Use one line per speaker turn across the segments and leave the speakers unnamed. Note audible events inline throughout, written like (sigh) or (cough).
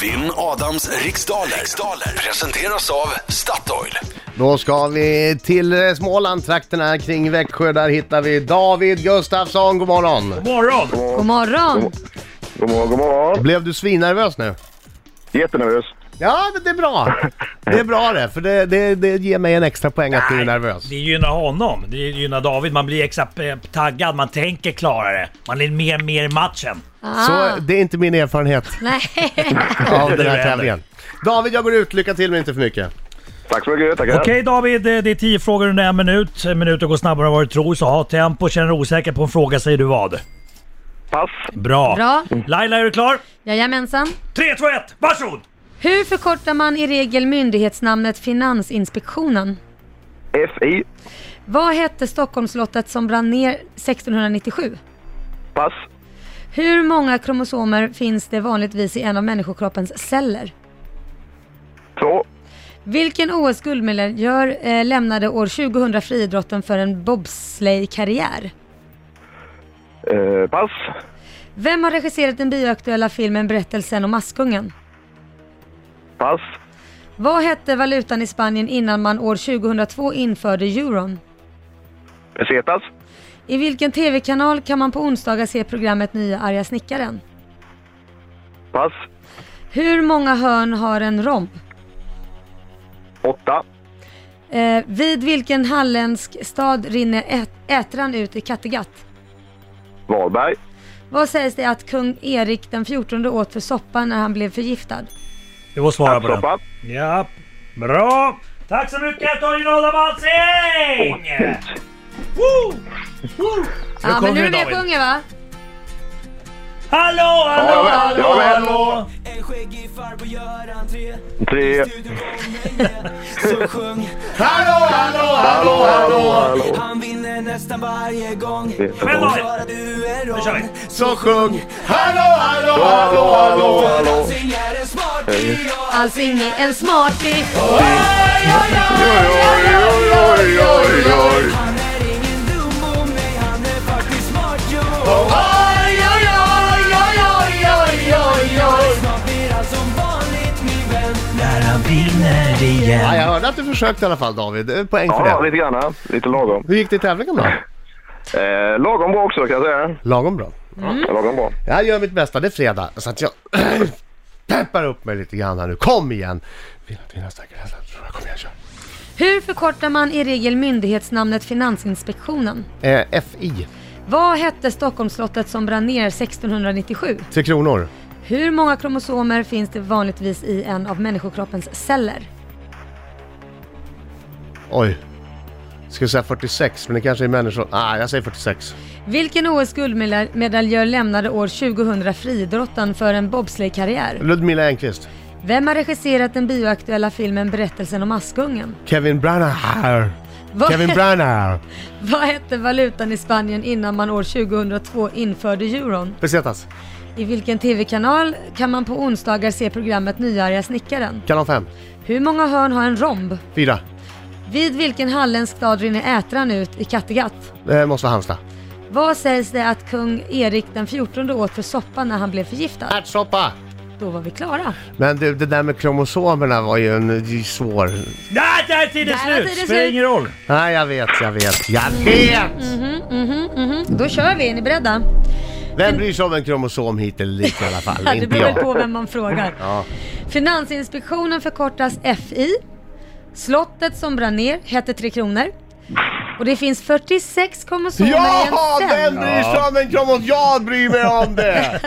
Vinn Adams riksdaler. riksdaler presenteras av Statoil.
Då ska vi till eh, Smålandtrakterna kring Växjö. Där hittar vi David Gustafsson. God morgon!
morgon!
God morgon!
God morgon, god morgon.
Blev du svinnervös nu?
Jättenervös.
Ja, men det är bra. Det är bra det, för det, det, det ger mig en extra poäng att du är nervös.
Det gynnar honom. Det gynnar David. Man blir extra eh, taggad. Man tänker klarare. Man är mer mer i matchen.
Ah,
Så eh, det är inte min erfarenhet
Nej, (laughs)
av den
Du
här
heller.
tävlingen. David, jag går ut. Lycka till men inte för mycket.
Tack så mycket, tackar.
Okej David, eh, det är tio frågor under en minut. Minuter går snabbare än vad du tror, så ha tempo. Känner du osäker på en fråga säger du vad.
Pass.
Bra.
bra.
Laila, är du klar?
Jajamensan.
3, 2, 1, varsågod!
Hur förkortar man i regel myndighetsnamnet Finansinspektionen?
FI.
Vad hette Stockholmsslottet som brann ner 1697?
Pass.
Hur många kromosomer finns det vanligtvis i en av människokroppens celler?
Två.
Vilken OS-guldmedaljör eh, lämnade år 2000 friidrotten för en bobsleigh-karriär?
Eh, pass.
Vem har regisserat den bioaktuella filmen Berättelsen om Askungen?
Pass.
Vad hette valutan i Spanien innan man år 2002 införde euron?
Pesetas.
I vilken tv-kanal kan man på onsdagar se programmet Nya arga snickaren?
Pass.
Hur många hörn har en romp?
Åtta.
Eh, vid vilken halländsk stad rinner ät- Ätran ut i Kattegatt?
Wahlberg.
Vad sägs det att kung Erik den 14 åt för soppa när han blev förgiftad?
Det var svara på den.
Appsoppa.
Ja, bra. Tack så mycket Torgny Adam Alsing! Woo! Woo!
Ja, men
sjunger
nu är det
vi,
med och
David.
sjunger va?
Hallå,
jag
hallå,
med, jag
hallå,
med.
hallå!
En skäggig farbror gör entré
Tre.
Studion omhänge Så sjung
Hallå, hallå, hallå.
Han vinner nästan varje gång
Men David,
Klarar du en
nu kör vi.
rond
Så sjung! Hallå, hallå,
Hallå, hallå, hallå.
Sing är en smarty och
Allsing är Alltså, en smartis.
Oj, oj, oj.
Han är ingen dum om mig Han är faktiskt smart jo Oj, oj, oj, oj, oj, oj, oj Snart blir allt som vanligt min vän När han vinner igen
Ja, jag hörde att du försökte i alla fall David. Det är Poäng för
Ja,
det.
lite grann. ja. Lite lagom.
Hur gick det i tävlingen då?
Eh, lagom bra också kan jag säga.
Lagom bra.
Lagom bra.
Jag gör mitt bästa. Det är fredag så att jag (clears throat) peppar upp mig lite grann här nu. Kom igen! Vill att vinna starkare hästar. Kom igen, kör!
Hur förkortar man i regel myndighetsnamnet Finansinspektionen?
Eh, FI,
Vad hette Stockholmsslottet som brann ner 1697?
Tre Kronor.
Hur många kromosomer finns det vanligtvis i en av människokroppens celler?
Oj. Ska jag säga 46, men det kanske är människor... Nej, ah, jag säger 46.
Vilken OS-guldmedaljör lämnade år 2000 friidrotten för en bobsleigh-karriär?
Ludmilla Engqvist.
Vem har regisserat den bioaktuella filmen Berättelsen om Askungen?
Kevin Branagh.
Vad,
Kevin Branagh.
vad hette valutan i Spanien innan man år 2002 införde euron?
Pesetas.
I vilken tv-kanal kan man på onsdagar se programmet Nyarga snickaren?
Kanal 5.
Hur många hörn har en romb?
4.
Vid vilken halländsk stad rinner Ätran ut i Kattegatt?
Det måste vara Halmstad.
Vad sägs det att kung Erik den 14 åt för soppa när han blev förgiftad?
Ärtsoppa!
Då var vi klara.
Men du, det där med kromosomerna var ju en det är ju svår...
Nej, där är tiden
Där var
slut!
tiden
Spelar
slut.
ingen roll.
Nej, jag vet, jag vet, jag vet!
Mhm, mhm. Då kör vi, är ni beredda?
Vem bryr sig om en kromosom hit eller dit i alla fall?
det
Inte
beror väl
jag.
på vem man frågar.
Ja.
Finansinspektionen förkortas FI. Slottet som brann ner hette Tre Kronor. Och det finns 46 kromosomer
Ja,
i en
vem
cell.
bryr sig om en kromosom? Jag bryr mig om (laughs) det!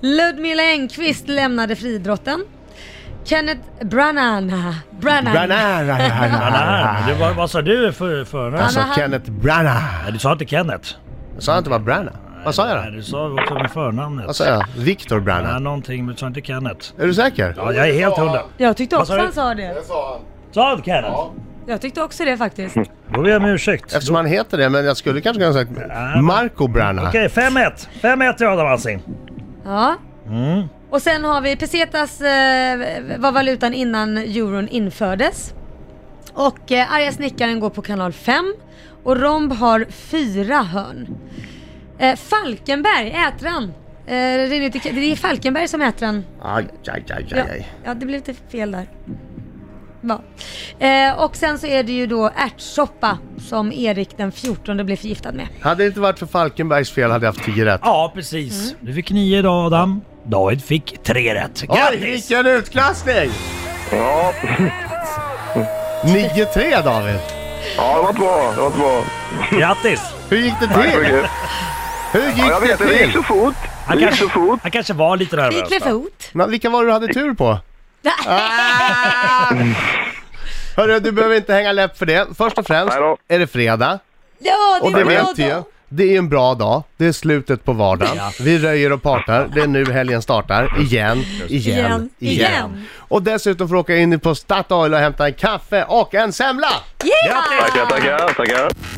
Ludmilla Engqvist lämnade friidrotten. Kenneth Branagh. Branagh.
Anna, du,
Branagh.
vad, vad sa du för, för
Jag sa
Anna-
Alltså, Kenneth Branagh.
Nej, du sa inte Kenneth.
Jag sa inte bara Branagh. Vad sa jag
Nej,
då?
du sa också med förnamnet.
Vad sa jag? Viktor
Nej,
Branagh.
någonting, men du sa inte Kenneth.
Är du säker?
Ja, jag är helt hundra.
Jag tyckte
Vad sa
också
du?
han sa det.
Sa han Kenneth?
Jag tyckte också det faktiskt.
Då ber jag om ursäkt.
Eftersom han heter det, men jag skulle kanske kunna säga Marco Branagh.
Okej, 5-1. 5-1 till Adam Alsing.
Ja.
Mm.
Och sen har vi pesetas eh, var valutan innan euron infördes. Och eh, arga snickaren går på kanal 5 och romb har fyra hörn. Eh, Falkenberg, Ätran, Eh, rinner ut i, det är Falkenberg som äter den.
Aj, aj, aj, aj,
Ja,
aj.
ja, det blev lite fel där. Ja. Eh, och sen så är det ju då ärtsoppa som Erik den 14 blev förgiftad med.
Hade det inte varit för Falkenbergs fel hade jag haft 10 rätt.
Ja, precis. Du fick nio idag Adam. David fick tre rätt.
Oj,
Grattis!
vilken utklassning!
Ja,
9-3 David.
ja det var inte bra. Det var inte bra.
Grattis!
Hur gick det
Tack så
till?
mycket.
Hur gick
Ja, jag
det
vet inte, det gick
till?
så fort.
Han
Det gick så
kanske,
fort.
han kanske var lite
Det gick med
nervös. då.
fot.
Men vilka var det du hade tur på?
Ah!
Ah! Hörru, du behöver inte hänga läpp för det. Först och främst
Nej då.
är det fredag
Ja, det
och det
är bra
vet
då.
jag. Det är en bra dag. Det är slutet på vardagen. Vi röjer och partar. Det är nu helgen startar. Igen, igen,
Igen,
igen.
igen.
Och dessutom får du åka in på Statoil och hämta en kaffe och en semla!
Yeah!
Tackar, tackar, tackar.